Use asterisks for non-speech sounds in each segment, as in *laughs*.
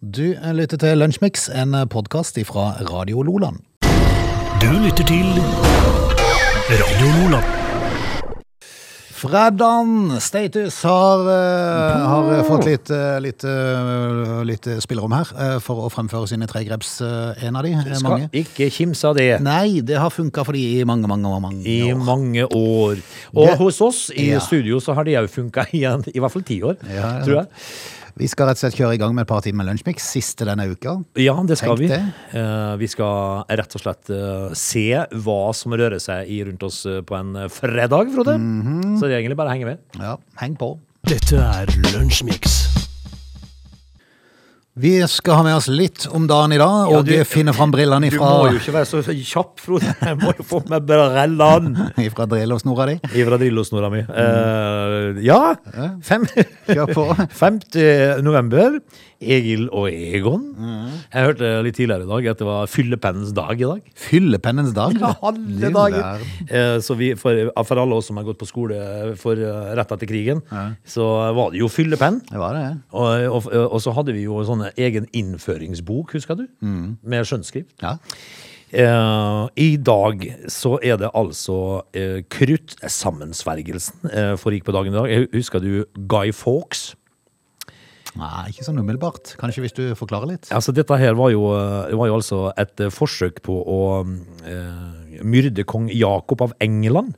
Du lytter til Lunsjmix, en podkast fra Radio Loland. Du lytter til Radio Lola. Fredan Status har, eh, har fått litt, eh, litt, eh, litt spillerom her eh, for å fremføre sine tre greps. eh, En av de, eh, mange. ikke kimse av det. Nei, det har funka for de i mange, mange, mange I år. mange år. Og Det- hos oss i Ja. studio så har det òg funka *laughs* igjen, i hvert fall ti år, Ja, ja. tror jeg. Vi skal rett og slett kjøre i gang med et par timer med Lunsjmix siste denne uka. Ja, det skal Tenk vi. det. Eh, Vi skal rett og slett eh, se hva som rører seg i rundt oss eh, på en eh, fredag, Frode. Mhm. Så det er egentlig bare å henge med. Ja, heng på. Dette er Lunsjmix. Vi skal ha med oss litt om dagen i dag, Ja, og du- finne fram brillene Du må ifra, jo ikke være så kjapp, Frode. Jeg må jo få med brillene! *laughs* ifra drillosnora di. Ifra drillosnora mi. Mm. Eh, ja! Fem. Kjør på. 5. november, Egil og Egon. Jeg hørte litt tidligere i dag at det var fyllepennens dag i dag. Fyllepennens dag. Ja, Det alle er dager! der. Eh, Så vi, for, for alle oss som har gått på skole for eh, rett etter krigen, så var det jo fyllepenn. Det var det. Og, eh, og, og så hadde vi jo sånn egen innføringsbok, husker du? Med skjønnskrift. Ja. Eh, I dag så er det altså eh, kruttsammensvergelsen eh, foregikk på dagen i dag. Jeg Husker du Guy Fawkes? Nei, ikke sånn umiddelbart. Kanskje hvis du forklarer litt. Altså, dette her var jo, var jo altså et eh, forsøk på å eh, myrde kong Jakob av England.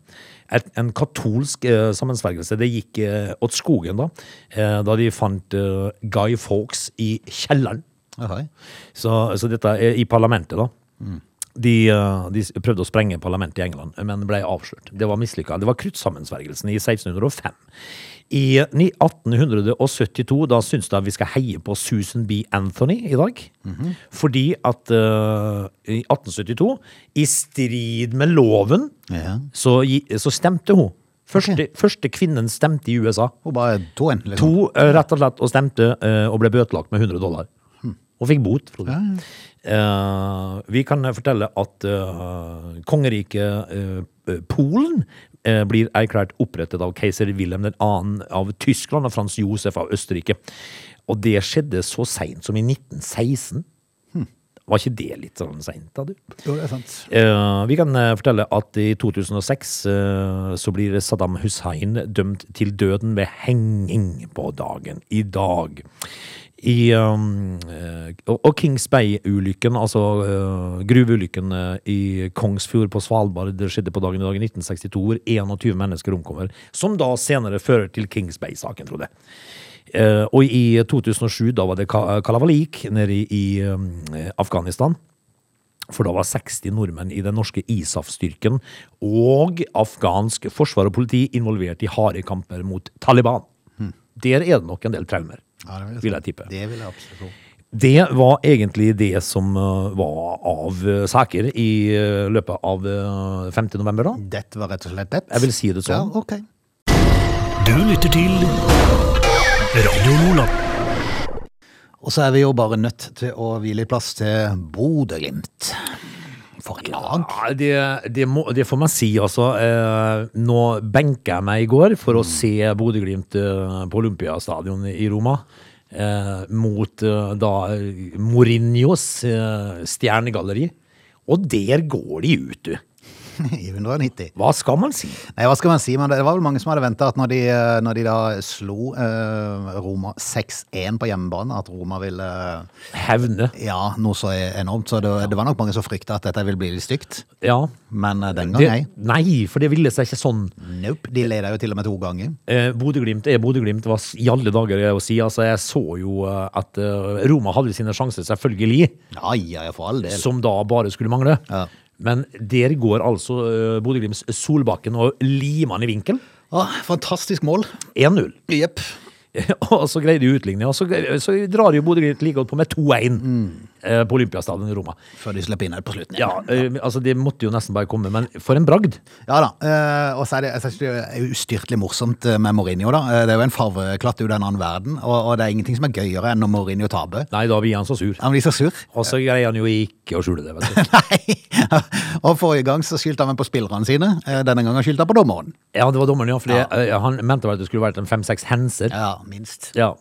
Et, en katolsk eh, sammensvergelse. Det gikk eh, åt skogen da, eh, da de fant eh, Guy Fawkes i kjelleren. Jaha. Så, så dette er i parlamentet, da. De, eh, de s- prøvde å sprenge parlamentet i England, men ble avslørt. Det var mislykka. Det var kruttsammensvergelsen i 1605. I ni- 1872 da syns jeg vi skal heie på Susan B. Anthony i dag. Fordi at eh, i 1872, i strid med loven, Ja. så, gi- så stemte hun. Første, første kvinnen stemte i USA. Og bare to en, liksom. To eh, rett og slett og stemte eh, og ble bøtelagt med 100 dollar. Og fikk bot. Frode. Eh, vi kan eh, fortelle at eh, kongeriket eh, eh, Polen eh, blir erklært opprettet av keiser Wilhelm 2. av Tyskland og Frans Josef av Østerrike. Og det skjedde så seint som i 1916. Var ikke det litt sånn seint, da, du? Jo, det er sant. Eh, vi kan eh, fortelle at i 2006 eh, så blir Saddam Hussein dømt til døden ved henging på dagen i dag. I, um, eh, og og Kings Bay-ulykken, altså eh, gruveulykken eh, i Kongsfjord på Svalbard, det skjedde på dagen i dag i 1962, hvor 21 mennesker omkommer, som da senere fører til Kings Bay-saken, Frode. Eh, og i 2007, da var det Ka- Kalavalik nede i, i um, eh, Afghanistan. For da var 60 nordmenn i den norske ISAF-styrken og afghansk forsvar og politi involvert i harde kamper mot Taliban. Der er det nok en del traumer, Hmm. Ja, det vil jeg tippe. Det vil jeg absolutt tro. Det var egentlig det som eh, var av eh, saker i eh, løpet av eh, 5. november, da. Dette var rett og slett det. Jeg vil si det Ja, sånn. ok. Du lytter til Radio Lola. Og så er vi jo bare nødt til å hvile litt plass til Bodø-Glimt. For et lag. Ja, det, det, må, det får man si, altså. Eh, nå benka jeg meg i går for å se Bodø-Glimt eh, på Olympiastadion i Roma. Eh, mot eh, da Mourinhos eh, stjernegalleri. Og der går de ut, du. I 190. Hva skal man si? Nei, hva skal man si? Men det var vel mange som hadde venta at når de, eh, når de da slo eh, Roma 6-1 på hjemmebane, at Roma ville eh, Hevne. Ja, noe så enormt. Så det, det var nok mange som frykta at dette ville bli litt stygt. Ja. Men eh, den gang, Det, nei. nei, for det ville seg ikke sånn. Nope. De leda jo til og med to ganger. Eh, Bodø-Glimt er Bodø-Glimt, hva s- i alle dager er det å si. Altså, jeg så jo eh, at eh, Roma hadde sine sjanser, selvfølgelig. Ja, ja, ja, for all del. Som da bare skulle mangle. Ja. Men der går altså eh, Bodø-Glimts Solbakken og limer han i vinkel. Åh, fantastisk mål. 1-0. Jepp. *laughs* og så greier de å utligne, og så, så drar jo Bodø-Glimt like godt på med 2-1 Mm. eh, på Olympiastadion i Roma. Før de slipper inn her på slutten. Ja, eh, altså Det måtte jo nesten bare komme, men for en bragd! Ja da. eh, og så er det, jeg synes det er ustyrtelig morsomt eh, med Mourinho, da. Eh, Det er jo en farveklatt ut av en annen verden, og, og det er ingenting som er gøyere enn når Mourinho taper. Nei, da blir han så sur. Han blir så sur. *laughs* Og så greier han jo ikke å skjule det. vet du. Nei. og forrige gang så skyldte han vel på spillerne sine. Eh, Denne gangen skyldte han på dommeren. Ja, det var dommeren, ja. For det, eh, han mente vel at det skulle vært en fem-seks hendelser. Ja, minst. Ja.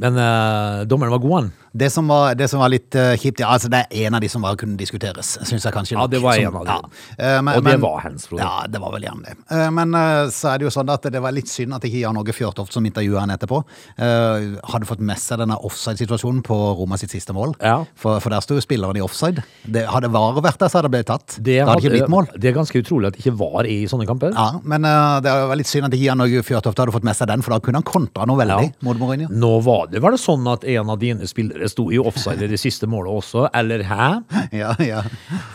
Men eh, dommeren var god, han. Det som var, det som var litt eh, kjipt, ja, altså det er en av de som var, kunne diskuteres, syns jeg kanskje. Ja, nok. det var en Som- av de. Eh, men- Og det men- var hans, Frode. Ja, det var vel gjerne det. Eh, men eh, så er det jo sånn at det var litt synd at ikke Jan Åge Fjørtoft, som intervjuet han etterpå, eh, hadde fått med seg denne offside-situasjonen på Roma sitt siste mål. Ja. For, for der sto jo spilleren i offside. Det, hadde VAR vært der, så hadde det blitt tatt. Det, hadde ikke blitt mål. det er ganske utrolig at det ikke var i sånne kamper. Ja, men eh, det er jo litt synd at ikke Jan Åge Fjørtoft hadde fått med seg den, for da kunne han kontra noe veldig Ja. mot Mourinho. Nå var det vel sånn at en av dine spillere sto i offside i det siste målet også, eller hæ? *laughs* Ja, ja.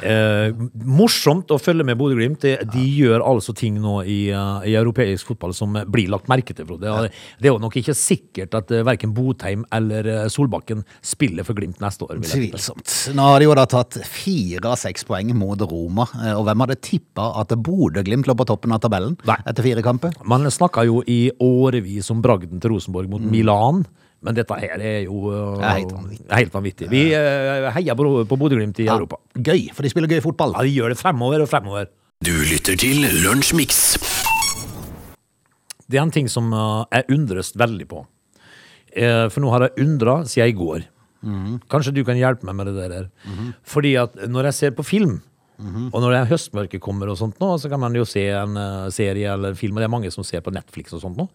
Eh, morsomt å følge med Bodø-Glimt. De, de gjør altså ting nå i, eh, i europeisk fotball som blir lagt merke til, Frode. Og Det er jo nok ikke sikkert at uh, verken Botheim eller eh, Solbakken spiller for Glimt neste år. vil jeg tippe. Tvilsomt. Nå har de jo da tatt fire av seks poeng mot Roma, eh, og hvem hadde tippa at Bodø-Glimt lå på toppen av tabellen Nei. etter fire kamper? Man snakka jo i årevis om bragden til Rosenborg mot Milan. Men dette her er jo eh, Mm. Det er helt vanvittig. helt vanvittig. Vi eh, heier på, på Bodø-Glimt i Europa. Ja, gøy, for de spiller gøy fotball. Ja, de gjør det fremover og fremover. Du lytter til Lunsjmix. Det er en ting som eh, jeg undres veldig på. Eh, for nå har jeg undra siden i går. Kanskje du kan hjelpe meg med det der. her. Fordi at når jeg ser på film, og når det er høstmørket kommer, og sånt nå, så kan man jo se en eh, serie eller film, og det er mange som ser på Netflix og sånt nå.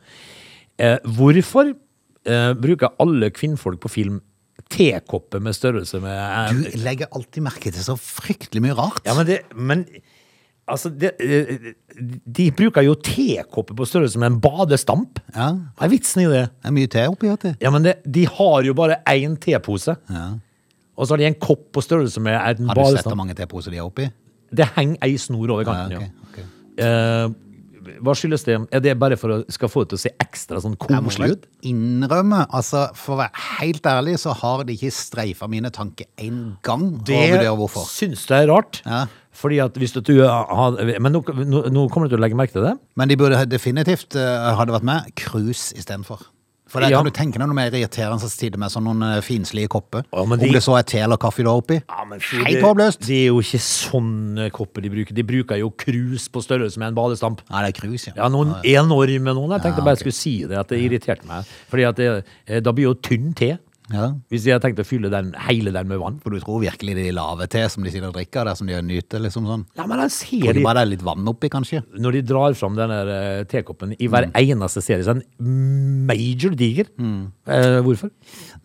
Eh, hvorfor eh, bruker alle kvinnfolk på film tekopper med størrelse med eh, Du legger alltid merke til så fryktelig mye rart. Ja, men det Men altså det, eh, De bruker jo tekopper på størrelse med en badestamp. Ja. Hva er vitsen i det? Det er mye te oppi, vet du. Ja, men det, de har jo bare én tepose. Og så har de en kopp på størrelse med en Har du sett hvor badestamp. mange teposer de er oppi? Det henger ei snor over Ja, kanten, ok, sånn. ja. ok. Eh, hva skyldes det? Er det bare for å skal få det til å se ekstra sånn Jeg må koselig vel ut? innrømme, altså for å være helt ærlig, så har de ikke streifa mine tanker en gang. og Det vurderer hvorfor. syns jeg er rart. Ja. Fordi at hvis du har Men nå, nå, nå kommer du til å legge merke til det. Men de burde definitivt eh, hadde vært med cruise istedenfor. For det Ja. kan du tenke deg noe mer irriterende som sitter med sånne noen eh, finslige kopper. Ja, men de- Om det så er te eller kaffe du har oppi. Ja, men Frode, Helt håpløst! Det er jo ikke sånne kopper de bruker. De bruker jo krus på størrelse med en badestamp. Nei, det er cruise, ja. Ja, noen enorme noen. Jeg tenkte bare jeg skulle si det, at det irriterte meg. Fordi at det, eh, da blir jo tynn te. Ja. Hvis jeg tenkte å fylle den, hele den med vann. For du tror virkelig de laver te som de sitter og drikker der, som de nyter, liksom sånn. Ja, men jeg ser Tror de, du bare det er litt vann oppi, kanskje? når de drar fram den der eh, tekoppen i hver eneste serie, så er den major diger. Eh, hvorfor?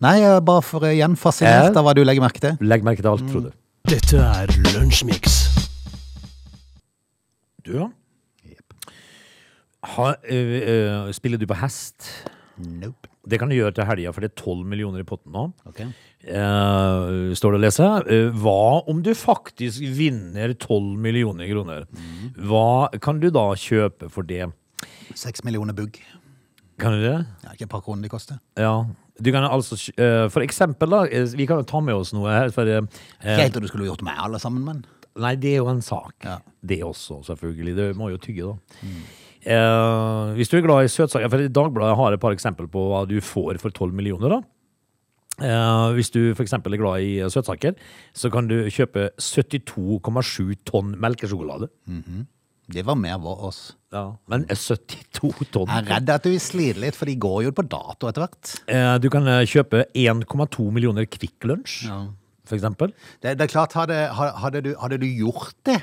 Nei, jeg er bare for eh, igjen fascinert Ja. av hva du legger merke til. Legg merke til alt, Frode. Dette er Lunsjmix. Du, ja. Ha, eh, eh, spiller du på hest? Nope. Det kan du gjøre til helga, for det er 12 millioner i potten nå. Ok. Eh, står det å lese. Eh, hva om du faktisk vinner 12 millioner kroner? Hva kan du da kjøpe for det? Seks millioner bugg. Kan du det? Det er ikke et par kroner de koster. Ja. Du kan altså kj- eh, For eksempel, da. eh, Vi kan jo ta med oss noe her. For, eh, Ikke eh, helt at du skulle gjort med alle sammen, men nei, det er jo en sak. Ja. Mm. Det også, selvfølgelig. Det må jo tygge, da. Eh, hvis du er glad i søtsaker For Dagbladet har et par eksempel på hva du får for 12 millioner, da. Eh, hvis du f.eks. er glad i eh, søtsaker, så kan du kjøpe 72,7 tonn melkesjokolade. det var mer vår oss. Ja. Men eh, 72 tonn Jeg er redd at du vil slite litt, for de går jo på dato etter hvert. Eh, Du kan eh, kjøpe 1,2 millioner Kvikk Lunsj, Ja. for eksempel. Det, det er klart, hadde, ha- hadde, du, hadde du gjort det,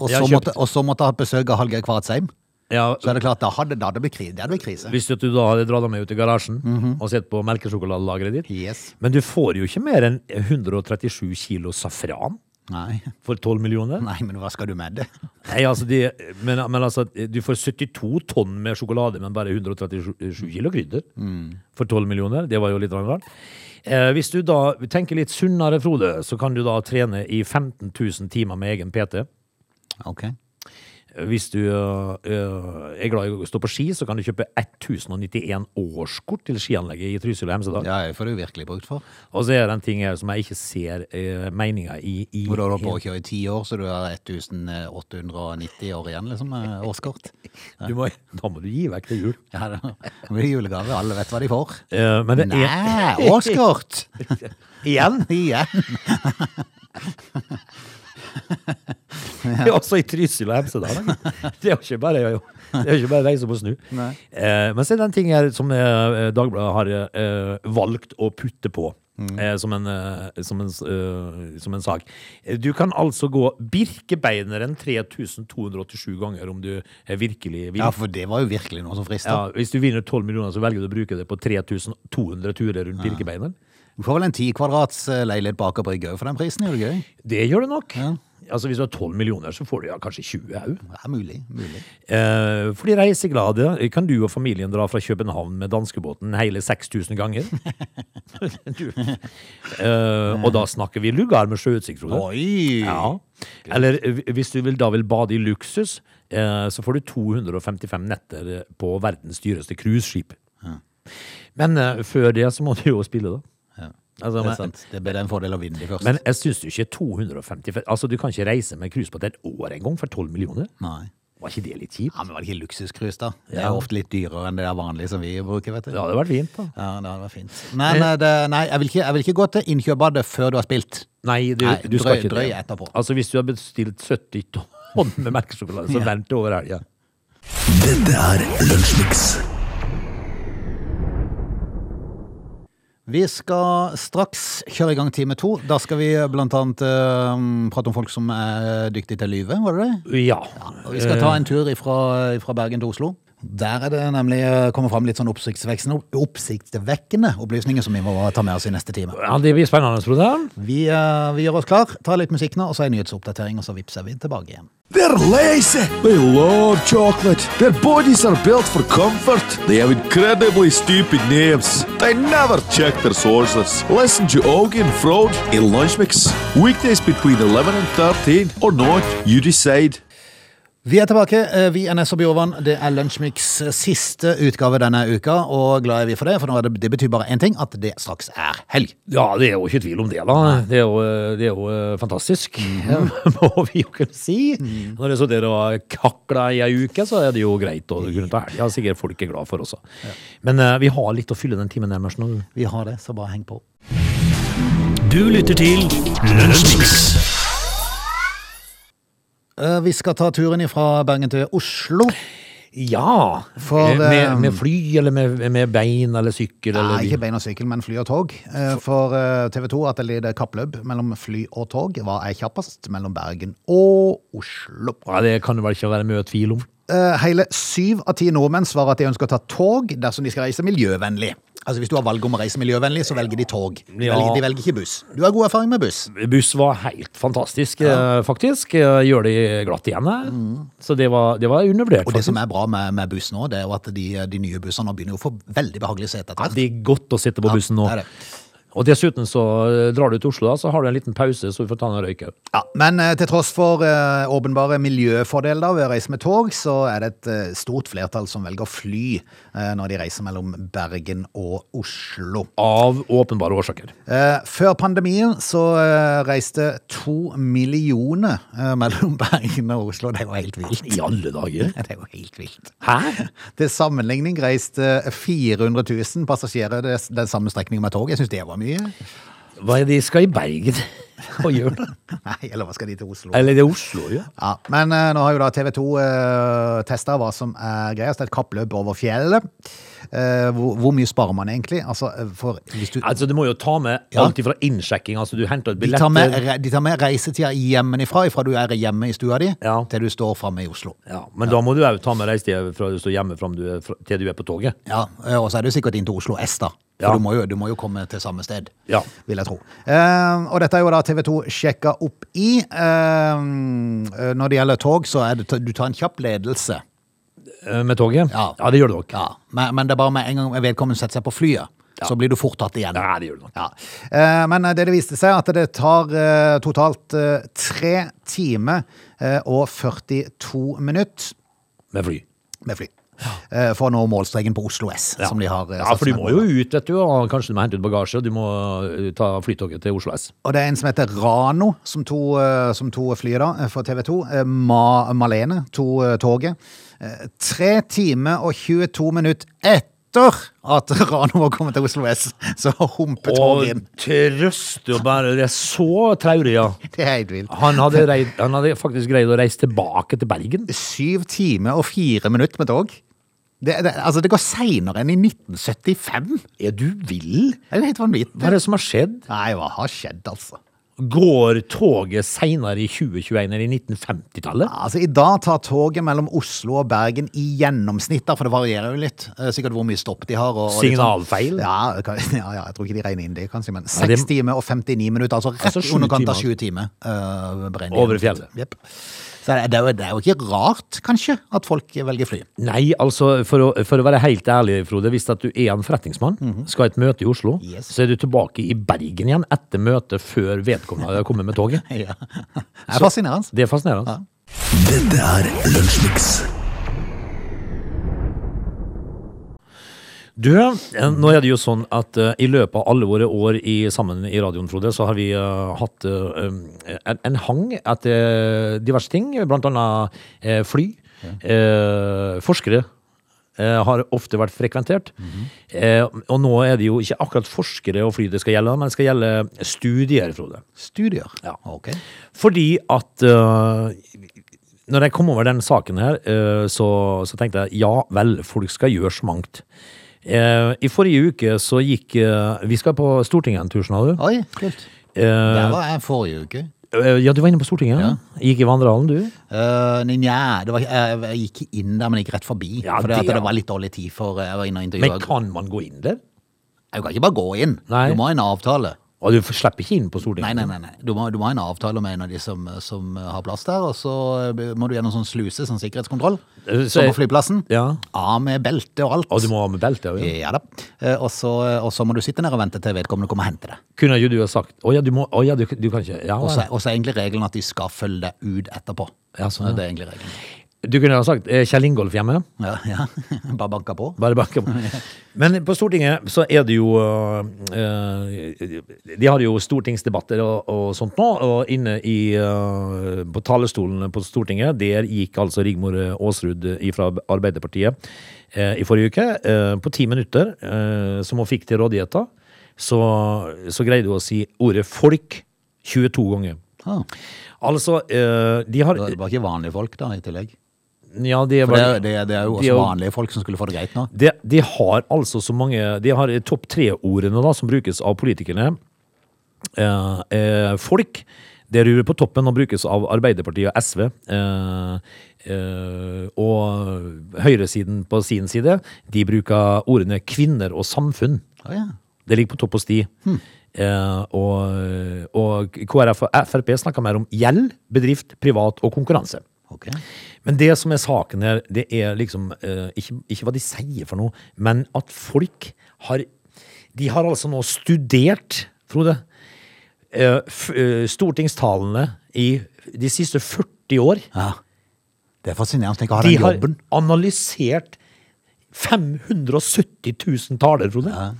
og Jeg så, har kjøpt- måtte, og så måtte ha besøk av Hallgeir Kvartsheim, Ja, så er det klart, da hadde da hadde det blitt krise. Det hadde blitt krise. Hvis at du da hadde dratt deg med ut i garasjen og sett på melkesjokoladelageret ditt. Mhm. Yes. Men du får jo ikke mer enn 137 kilo safran Nei. *laughs* for 12 millioner. Nei, men hva skal du med det? Nei, altså de, men, men altså, du får 72 tonn med sjokolade, men bare 137 kilo krydder Mm. for 12 millioner. Det var jo litt rart. Eh, hvis du da tenker litt sunnere, Frode, så kan du da trene i 15 000 timer med egen PT. Ok. Hvis du øh, øh, er glad i å stå på ski, så kan du kjøpe 1091 årskort til skianlegget i Trysil og Hemsedal. Ja, det får du virkelig brukt for. Og så er det en ting her som jeg ikke ser øh, meninga i. i Hvor du holder på å kjøre i ti år, så du har 1890 år igjen, liksom, eh, årskort. du *laughs* må, da må du gi vekk til jul. Ja, det det blir julegave, alle vet hva de får. Eh, men det *laughs* er Nei, årskort! *laughs* igjen, Igjen. *laughs* *laughs* det er også i Trysil og Hemsedal. Det er jo ikke bare Det er jo ikke bare deg som må snu. Nei. Eh, men så er det en ting her som eh, Dagbladet har eh, valgt å putte på. Mm. Eh, som, en, eh, som, en, s- eh, som en sak. Eh, Du kan altså gå Birkebeineren 3287 ganger om du eh, virkelig vil. Ja, for det var jo virkelig noe som frista. Ja, hvis du vinner 12 millioner, så velger du å bruke det på 3200 turer rundt Birkebeineren. Du får vel en ti kvadrats eh, leilighet bak og brygge òg for den prisen, gjør det gøy? Det gjør du nok. Altså Hvis du har 12 millioner, så får du ja, kanskje 20 òg. Ja, mulig. mulig. Eh, for de reiseglade kan du og familien dra fra København med danskebåten hele 6000 *laughs* ganger. du. Eh, og da snakker vi lugar med sjøutsikt, Frode. Oi! Ja. Eller eh, hvis du vil, da vil bade i luksus, eh, så får du 255 netter på verdens dyreste cruiseskip. Men eh, før det så må du jo spille, da. Ja, Altså, Det men- er sant. Det ble en fordel å vinne de først. Men jeg syns jo ikke 255 Altså, du kan ikke reise med cruise på et år engang for 12 millioner. Nei. Var ikke det litt kjipt? Ja, men var det ikke luksuscruise, da? Det er Ja. jo ofte litt dyrere enn det der vanlige som vi bruker, vet du. Det hadde vært fint, da. Ja, det hadde vært fint. Nei, nei, det, nei jeg, vil ikke, jeg vil ikke gå til innkjøp av det før du har spilt. Nei, du, Nei, du skal drøy- ikke drøy det. etterpå. Altså, hvis du har bestilt 70 tonn med melkesjokolade, så vent til over helga. Dette er Lunsjmix. Vi skal straks kjøre i gang time to. Da skal vi blant annet eh, prate om folk som er dyktige til å lyve, var det det? Ja. Og vi skal ta en tur ifra, ifra Bergen til Oslo. Der er det nemlig eh, kommet fram litt sånn oppsiktsvekkende, oppsiktsvekkende opplysninger som vi må ta med oss i neste time. Ja, det blir spennende, Frode. Vi, eh, vi gjør oss klar, tar litt musikk nå, og så er nyhetsoppdatering, og så vipser vi tilbake igjen. They're lazy. They love chocolate. Their bodies are built for comfort. They have incredibly stupid names. They never check their sources. Listen to Augie and Frode in Lunch Mix. Weekdays between 11 and 13 or not, you decide. Vi er tilbake. eh, Vi er Ness og Bjorvann. Det er Lunsjmix siste utgave denne uka, og glad er vi for det, for nå er det, det betyr bare én ting, at det straks er helg. Ja, det er jo ikke tvil om det, da. Det er jo, det er jo eh, fantastisk, Mhm. *laughs* må vi jo kunne si. Når det er så der og kakla i ei uke, så er det jo greit å kunne ta helg. Ja, sikkert folk er glad for også. Men eh, vi har litt å fylle den timen nærmest nå. Vi har det, så bare heng på. Du lytter til Lunsjmix. Eh, Vi skal ta turen fra Bergen til Oslo. Ja! For, eh, eh, med, med fly, eller med, med bein, eller sykkel, eller Nei, ikke bein og sykkel, men fly og tog. Eh, For TV 2 at det leder kappløp mellom fly og tog. Hva er kjappest mellom Bergen og Oslo? Ja, det kan det vel ikke være mye tvil om. Eh, Hele syv av ti nordmenn svarer at de ønsker å ta tog dersom de skal reise miljøvennlig. Altså Hvis du har valg om å reise miljøvennlig, så velger de tog. De Ja. velger, Mm. de velger ikke buss. Du har god erfaring med buss. Buss var helt fantastisk, eh, faktisk. Eh, Gjør det glatt igjen her. Så det var, det var undervurdert. Mm. Og det faktisk. som er bra med, med buss nå, det er jo at de, de nye bussene begynner jo å få veldig behagelige seter Ja, etter hvert. det er godt å sitte på bussen nå. det er det. Og dessuten så eh, drar du til Oslo, da, så har du en liten pause, så du får ta en røyk òg. Ja, men eh, til tross for eh, åpenbare miljøfordeler da ved å reise med tog, så er det et eh, stort flertall som velger å fly eh, når de reiser mellom Bergen og Oslo. Av åpenbare årsaker. Eh, før pandemien så eh, reiste to millioner eh, mellom *laughs* Bergen og Oslo. Det var helt vilt. I alle dager! *laughs* Det er jo helt vilt. Hæ? Til sammenligning reiste 400 000 passasjerer det- den samme strekningen med tog. Jeg syns det var mye. *laughs* Hva er det de skal i Bergen *laughs* og gjøre? da? Nei, eller hva skal de til Oslo? Eller det er Oslo, ja. Ja, Men eh, nå har jo da TV 2 eh, testa hva som er greiest. Et kappløp over fjellet. Eh, hvor, hvor mye sparer man egentlig? Altså, eh, for hvis du Altså, du må jo ta med Ja. alt ifra innsjekking, altså du henter et de billett tar, med, re- de tar med reisetida hjemmefra, fra du er hjemme i stua di, Ja. til du står framme i Oslo. ja, Men da må du òg ta med reisetida fra du står hjemme fram du er, fra, til du er på toget. Ja, eh, og så er du sikkert inn til Oslo S, da. For Ja. du, må jo, du må jo komme til samme sted, Ja. vil jeg tro. Eh, og dette er jo da TV 2 sjekka opp i. Eh, når det gjelder tog, så er det, du tar en kjapp ledelse. Eh, Med toget? Ja. ja det gjør du nok. Ja, men, men det er bare med en gang vedkommende setter seg på flyet, så blir du fort tatt igjen. Nei, det gjør du nok. Ja. Eh, Men det det viste seg, at det tar eh, totalt eh, tre timer eh, og 42 minutter Med fly. med fly. eh, For å nå målstreken på Oslo S, Ja. som de har eh, ja, satt for du som må et jo mål. ut, vet du, og kanskje du må hente ut bagasje, og du må eh, ta flytoget til Oslo S. Og det er en som heter Rano, som to, som to flyet da, eh, for TV 2. Ma, Malene, to eh, toget. Eh, Tre timer og 22 minutter etter etter at *laughs* Rano var kommet til Oslo S, så humpet Og toget inn. trøste og bare Det er så traurig, ja. Det er helt vilt. Han *laughs* hadde, rei, han hadde faktisk greid å reise tilbake til Bergen. Syv timer og fire minutter med tog. Det, det, altså, det går seinere enn i 1975. Er du vill? Det er jo helt Hva vanvittig. er det som har skjedd? Nei, hva har skjedd, altså? Går toget seinere i 2021 enn i 1950-tallet? Altså, I dag tar toget mellom Oslo og Bergen i gjennomsnitt, da, for det varierer jo litt. eh, Sikkert hvor mye stopp de har. Og, og litt sånn. Signalfeil? Ja, det kan- *laughs* ja, ja, jeg tror ikke de regner inn det, kanskje. Men Ja, det- seks timer og 59 minutter, altså rett Altså, i sju underkant av timer. sju timer. eh, beregner de. Over fjellet. Jep. Så det, det, er jo, det er jo ikke rart, kanskje, at folk velger fly. *laughs* Nei, altså, for å, for å være helt ærlig, Frode. Hvis at du er en forretningsmann, skal ha et møte i Oslo, Yes. så er du tilbake i Bergen igjen etter møtet før vedkommende har kommet med toget. Ja. Det er fascinerende. altså. Det er fascinerende. Dette er Lunsjmix. Du, eh, nå er det jo sånn at eh, i løpet av alle våre år i, sammen i radioen, Frode, så har vi eh, hatt eh, um, en, en hang etter diverse ting, blant annet eh, fly. Eh, forskere eh, har ofte vært frekventert. eh, og nå er det jo ikke akkurat forskere og fly det skal gjelde, men det skal gjelde studier, Frode. Studier. Ja. Ok. Fordi at øh, Når jeg kom over den saken her, øh, så, så tenkte jeg ja vel, folk skal gjøre så mangt. Eh, I forrige uke så gikk eh, Vi skal på Stortinget en tur, skjønner du. Oi, kult. Eh, Der var jeg forrige uke. eh, ja, du var inne på Stortinget? Ja. Gikk i vandrehallen, du? Eh, nei, nja, det var, jeg, jeg gikk inn der, men jeg gikk rett forbi. Ja, fordi at det, ja. det var litt dårlig tid, for eh, jeg var inne og Men intervjuet. kan man gå inn der? Du kan ikke bare gå inn. Nei. Du må ha en avtale. Og du slipper ikke inn på Nei, Stortinget? nei, nei. nei. Du, må, du må ha en avtale med en av de som, som har plass der, og så må du gjennom sånn sluse, sånn sikkerhetskontroll, Eh, så som på jeg- flyplassen. Ja. Av med belte og alt. Og du må ha med belte? ja. Ja da. Eh, Og så, og så må du sitte ned og vente til vedkommende kommer og henter deg. Kunne ikke du ha sagt Å ja, du, må, å, ja, du, du kan ikke ja, Og vel. så og så er egentlig regelen at de skal følge deg ut etterpå. Ja, sånn, ja. Det er egentlig regelen. Du kunne ha sagt eh, Kjell Ingolf hjemme? Ja, ja. *laughs* Bare banka på. Bare *laughs* banke på. Men på Stortinget så er det jo eh, De har jo stortingsdebatter og, og sånt nå, og inne i, eh, på talerstolen på Stortinget, der gikk altså Rigmor Aasrud fra Arbeiderpartiet eh, i forrige uke. eh, På ti minutter, eh, som hun fikk til rådigheta, så, så greide hun å si ordet folk 22 ganger. Ah. Altså, eh, de har Det var ikke vanlige folk da, i tillegg. Ja, de er For det, bare- er- det, er- det er jo de også vanlige folk som skulle få det greit nå. de, de har altså så mange De har topp tre-ordene da som brukes av politikerne. Eh, eh, folk. Det rurer på toppen og brukes av Arbeiderpartiet og SV. Eh, eh, og høyresiden på sin side, de bruker ordene kvinner og samfunn. Å ja. Det ligger på topp hos de. Eh, og, og KrF og Frp snakker mer om gjeld, bedrift, privat og konkurranse. Ok. Men det som er saken her, det er liksom eh, ikke, ikke hva de sier for noe, men at folk har De har altså nå studert, Frode, eh, f eh, stortingstalene i de siste 40 år. Ja. Det er fascinerende å tenke å ha De den har jobben. analysert 570 000 taler, Frode.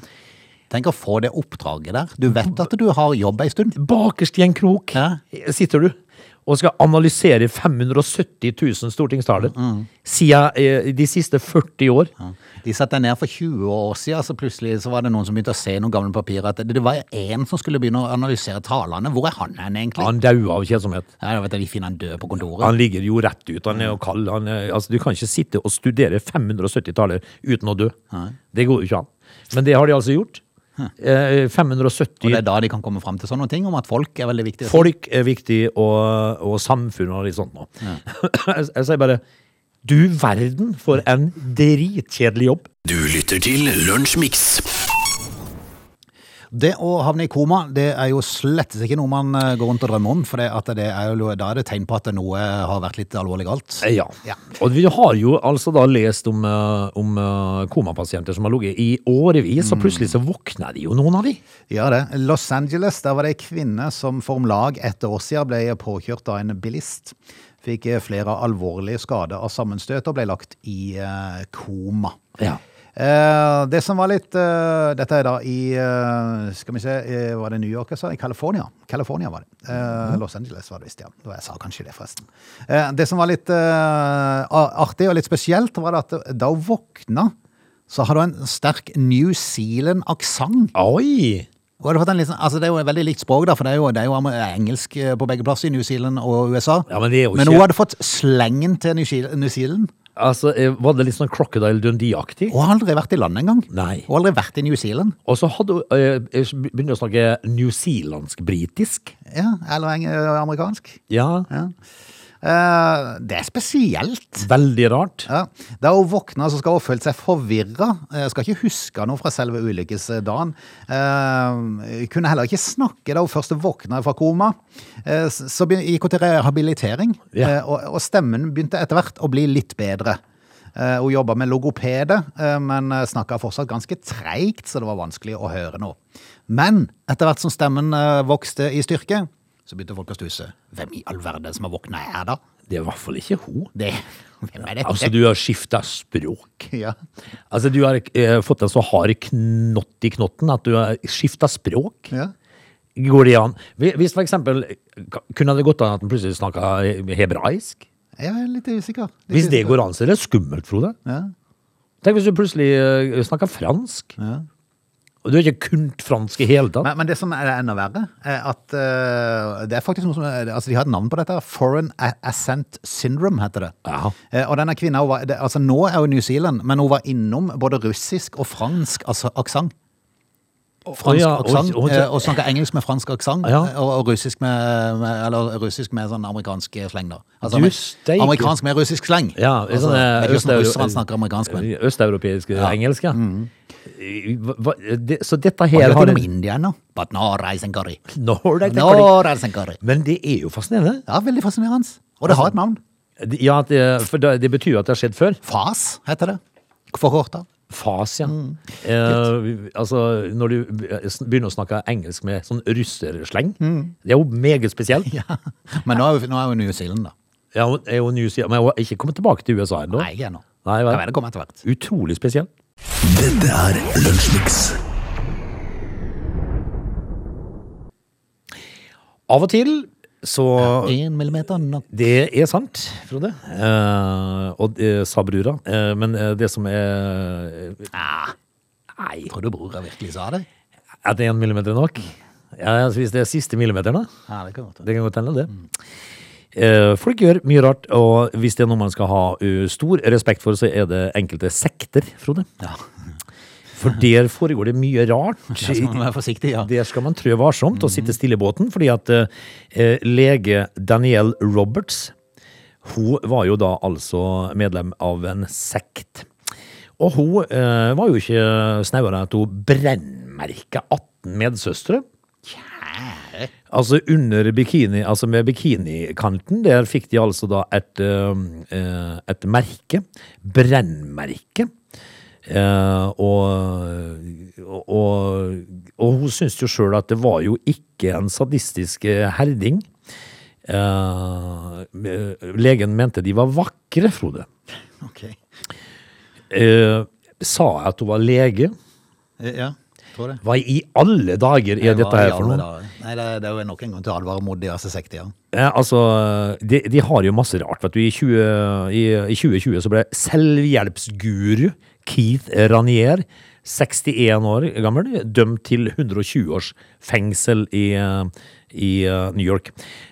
Tenk å få det oppdraget der. Du vet at du har jobb ei stund. Bakerst i en krok Ja. sitter du og skal analysere 570 000 stortingstaler Mm, siden eh, de siste 40 år. De satte ned for 20 år siden, så plutselig så var det noen som begynte å se noen gamle papirer. At det det var én som skulle begynne å analysere talene. Hvor er han hen, egentlig? Han daua av kjedsomhet. Ja, jeg vet at De finner han død på kontoret. Han ligger jo rett ut, han er jo kald. Han er, altså, du kan ikke sitte og studere 570 taler uten å dø. Det går jo ikke an. Men det har de altså gjort. Eh, Og det 570 er da de kan komme fram til sånne ting om at folk er veldig viktige. Folk er viktig, og, og samfunn og litt sånt nå. jeg, *clears throat* jeg sier bare Du verden for en dritkjedelig jobb. Du lytter til Lunsjmix. Det å havne i koma det er jo slett ikke noe man eh, går rundt og drømmer om. For det at det er jo, da er det tegn på at noe har vært litt alvorlig galt. Eh, Ja. Ja. Og vi har jo altså da lest om, eh, om eh, komapasienter som har ligget i årevis, Mm. og plutselig så våkner de jo, noen av de. Ja, det. Los Angeles, der var det ei kvinne som for om lag ett år siden ble påkjørt av en bilist. Fikk eh, flere alvorlige skader av sammenstøt og ble lagt i eh, koma. Ja. Eh, det som var litt eh, Dette er da i eh, Skal vi se, eh, var det New York jeg sa? I California. California var det. Eh, Los Angeles var det visst, ja. Det var- Jeg sa kanskje det, forresten. Eh, det som var litt eh, a- artig og litt spesielt, var det at da hun våkna, så har du en sterk New Zealand-aksent. Oi! Og har du fått en litt sånn- altså det er jo et veldig likt språk, da, for det er jo, det er jo am- engelsk eh, på begge plasser i New Zealand og USA. Ja, men det er jo Men ikke- hun hadde fått slengen til New Zeal- New Zealand. Altså, eh, Var det litt sånn Crocodile Dundee-aktig? Hun har aldri vært i landet engang. Nei. Hun har aldri vært i New Zealand. Og så hadde hun eh, begynte å snakke newzealandsk-britisk. Ja, eller eng- eh, amerikansk. Ja. Ja. Eh, det er spesielt. Veldig rart. Ja. Da hun våkna, så skal hun ha følt seg forvirra. Eh, Skal ikke huske noe fra selve ulykkesdagen. Eh, kunne heller ikke snakke da hun først våkna fra koma. Eh, s- så begyn- gikk hun til rehabilitering, Ja. eh, og, og stemmen begynte etter hvert å bli litt bedre. Eh, hun jobba med logopede, eh, men snakka fortsatt ganske treigt, så det var vanskelig å høre noe. Men etter hvert som stemmen eh, vokste i styrke, så begynte folk å stusse. Hvem i all verden som har våkna her, da? Det er i hvert fall ikke hun. Det, *laughs* hvem er dette? Altså, du har skifta språk. *laughs* ja. Altså, du har eh, fått en så hard knott i knotten at du har skifta språk. Ja. Går det an? Hvi- Hvis for eksempel k- Kunne det gått an at han plutselig snakka hebraisk? Jeg er litt usikker. Litt Hvis det usikker. går an, så er det skummelt, Frode. Ja. Tenk hvis du plutselig snakka fransk. Og du har ikke kunnet fransk i hele tatt. Men, men det som er enda verre, er at eh, det er faktisk noe som er, Altså, de har et navn på dette. her. Foreign A- Ascent Syndrome heter det. Ja. Eh, og denne kvinna hun var, det, altså Nå er hun i New Zealand, men hun var innom både russisk og fransk altså, aksent. Fransk ja, og- aksent. og- eh, Og snakka engelsk med fransk aksent, eh, Ja. og, og russisk med, med, eller russisk med sånn amerikansk sleng, da. Altså, Du med- steike. amerikansk med russisk sleng. Ja, eh, altså, det er ikke sånn russerne snakker amerikansk, men Østeuropeisk eh, engelsk, ja. Hva- hva- det- Så dette Jeg her vet har ikke om en India ennå. But no rice and curry. Når det- det No kan rice and curry. det- Men det er jo fascinerende. Ja, veldig fascinerende. Og det har et navn. Det- Ja, at det, for det det betyr jo at det har skjedd før. FAS heter det. Forkorta. Fas, ja. Mm. Eh, vi- altså, når du begynner å snakke engelsk med sånn russersleng, det er jo meget spesielt. Ja. Mm. Ja. Men nå er jo, nå er jo New Zealand, da. hun er jo New Zealand, men hun har ikke kommet tilbake til USA ennå. Nei, ikke ennå. Nei, Jeg vel. vet det kommer etter hvert. Utrolig spesielt. Dette er Lunsjmix. Av og til så Én millimeter nok. Det er sant, Frode. Eh, og eh, sa brura. Eh, men eh, det som er eh, Ah, Nei. tror du bror virkelig sa det? Er det én millimeter nok? Ja, altså, hvis det er siste millimeteren, da. Ja, det kan godt være. Det kan godt hende, det. Eh, Folk gjør mye rart, og hvis det er noe man skal ha eh, stor respekt for, så er det enkelte sekter, Frode. Ja. For der foregår det mye rart. Så må man være forsiktig, ja. Der skal man trø varsomt og sitte stille i båten, fordi at eh, eh, lege Danielle Roberts, hun var jo da altså medlem av en sekt. Og hun eh, var jo ikke snauere enn at hun brennmerka 18 medsøstre. Altså under bikini, altså med bikinikanten, der fikk de altså da et, eh, eh, et merke, brennmerke. Eh, og, og, og hun syntes jo sjøl at det var jo ikke en sadistisk eh, herding. Eh, eh, legen mente de var vakre, Frode. Ok. Eh, sa jeg at hun var lege? Eh, Ja, tror det. Hva i alle dager er Hva dette i her for alle noe? dager? Nei, det, det er jo nok en grunn til å advare mot diverse sekter. ja. Eh, altså, de, de har jo masse rart. Vet du. I, 20, i, I 2020 så ble selvhjelpsguru Keith Ranier, 61 år gammel, dømt til 120 års fengsel i, eh, i eh, New York.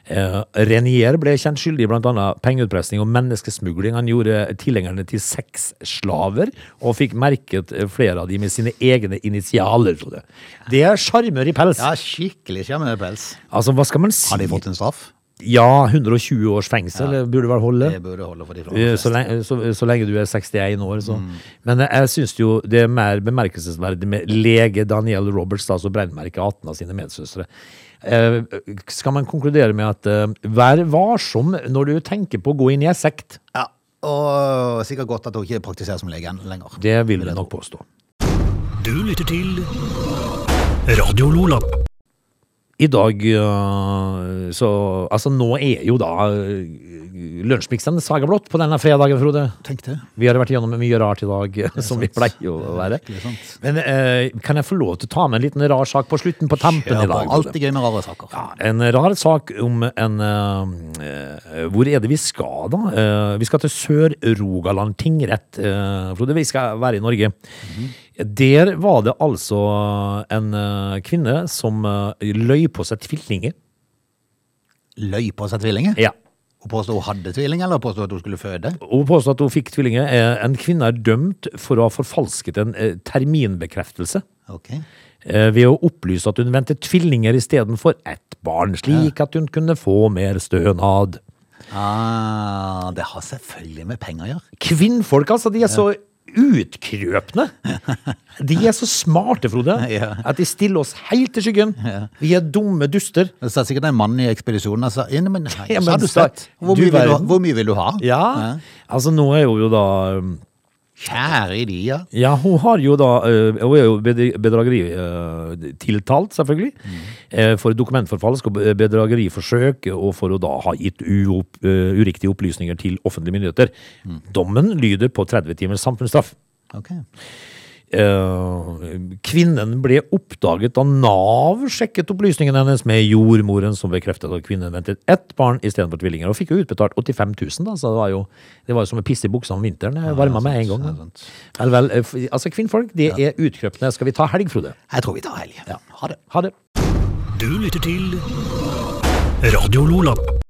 Eh, Ranier ble kjent skyldig i bl.a. pengeutpressing og menneskesmugling. Han gjorde tilhengerne til sexslaver og fikk merket eh, flere av de med sine egne initialer. tror jeg. Det er sjarmør i pels. Ja, skikkelig sjarmørpels. Altså, hva skal man si? Har de fått en straff? Ja, 120 års fengsel eh, burde vel holde. Det burde holde for de Eh, fleste. Så lenge, så, så lenge du er 61 år, så. Mm. Men eh, jeg syns jo det er mer bemerkelsesverdig med lege Daniel Roberts, da, som brennmerker 18 av sine medsøstre. Eh, skal man konkludere med at eh, vær varsom når du tenker på å gå inn i en sekt? Ja, og sikkert godt at hun ikke praktiserer som lege lenger. Det vil jeg nok påstå. Du lytter til Radio Lola. I dag øh, så Altså, nå er jo da øh, lunsjmiksen Saga Blått på denne fredagen, Frode. Tenk det. Vi har vært gjennom mye rart i dag, *laughs* som vi sant. pleier å Det være. er virkelig sant. Men øh, kan jeg få lov til å ta med en liten rar sak på slutten på tampen i Kjør på. dag? Frode? Alltid gøy med rare saker. Ja, en rar sak om en eh, eh, Hvor er det vi skal, da? Eh, vi skal til Sør-Rogaland tingrett, eh, Frode. Vi skal være i Norge. Der var det altså en eh, kvinne som eh, løy på seg tvillinger. Løy på seg tvillinger? Ja. Og påstod hun hadde tvillinger, eller påstod at hun skulle føde? Hun påstår at hun fikk tvillinger. Eh, En kvinne er dømt for å ha forfalsket en eh, terminbekreftelse. Ok. eh, ved å opplyse at hun ventet tvillinger istedenfor ett barn, slik at hun kunne få mer stønad. Ah, det har selvfølgelig med penger å gjøre. Kvinnfolk, altså. De er så utkrøpne. De er så smarte, Frode, Ja. at de stiller oss helt i skyggen. Vi er dumme duster. Det satt sikkert en mann i ekspedisjonen og sa «Ja, men, nei, Ja, så men har du sa- sett. Hvor, du mye vil du, verden. hvor mye vil du ha? Ja. Altså, nå er hun jo da um, Kjære de, ja. Ja, hun har jo da øh, Hun er jo bedri- bedrageri øh, tiltalt, selvfølgelig. eh, For dokumentforfalsk og be- bedrageriforsøk, og for å da ha gitt uopp, øh, uriktige opplysninger til offentlige myndigheter. Dommen lyder på 30 timers samfunnsstraff. Ok. Eh, kvinnen ble oppdaget da Nav sjekket opplysningene hennes med jordmoren, som bekreftet at kvinnen ventet ett barn istedenfor tvillinger, og fikk jo utbetalt 85 000, da, så det var jo, det var jo som å pisse i buksa om vinteren. Jeg varma med en gang. ja, da. sant. Vel, vel, eh, f- altså kvinnfolk, de er utkrøpne. Skal vi ta helg, Frode? Jeg tror vi tar helg. Ha det. Ha det. Du lytter til Radio Lola.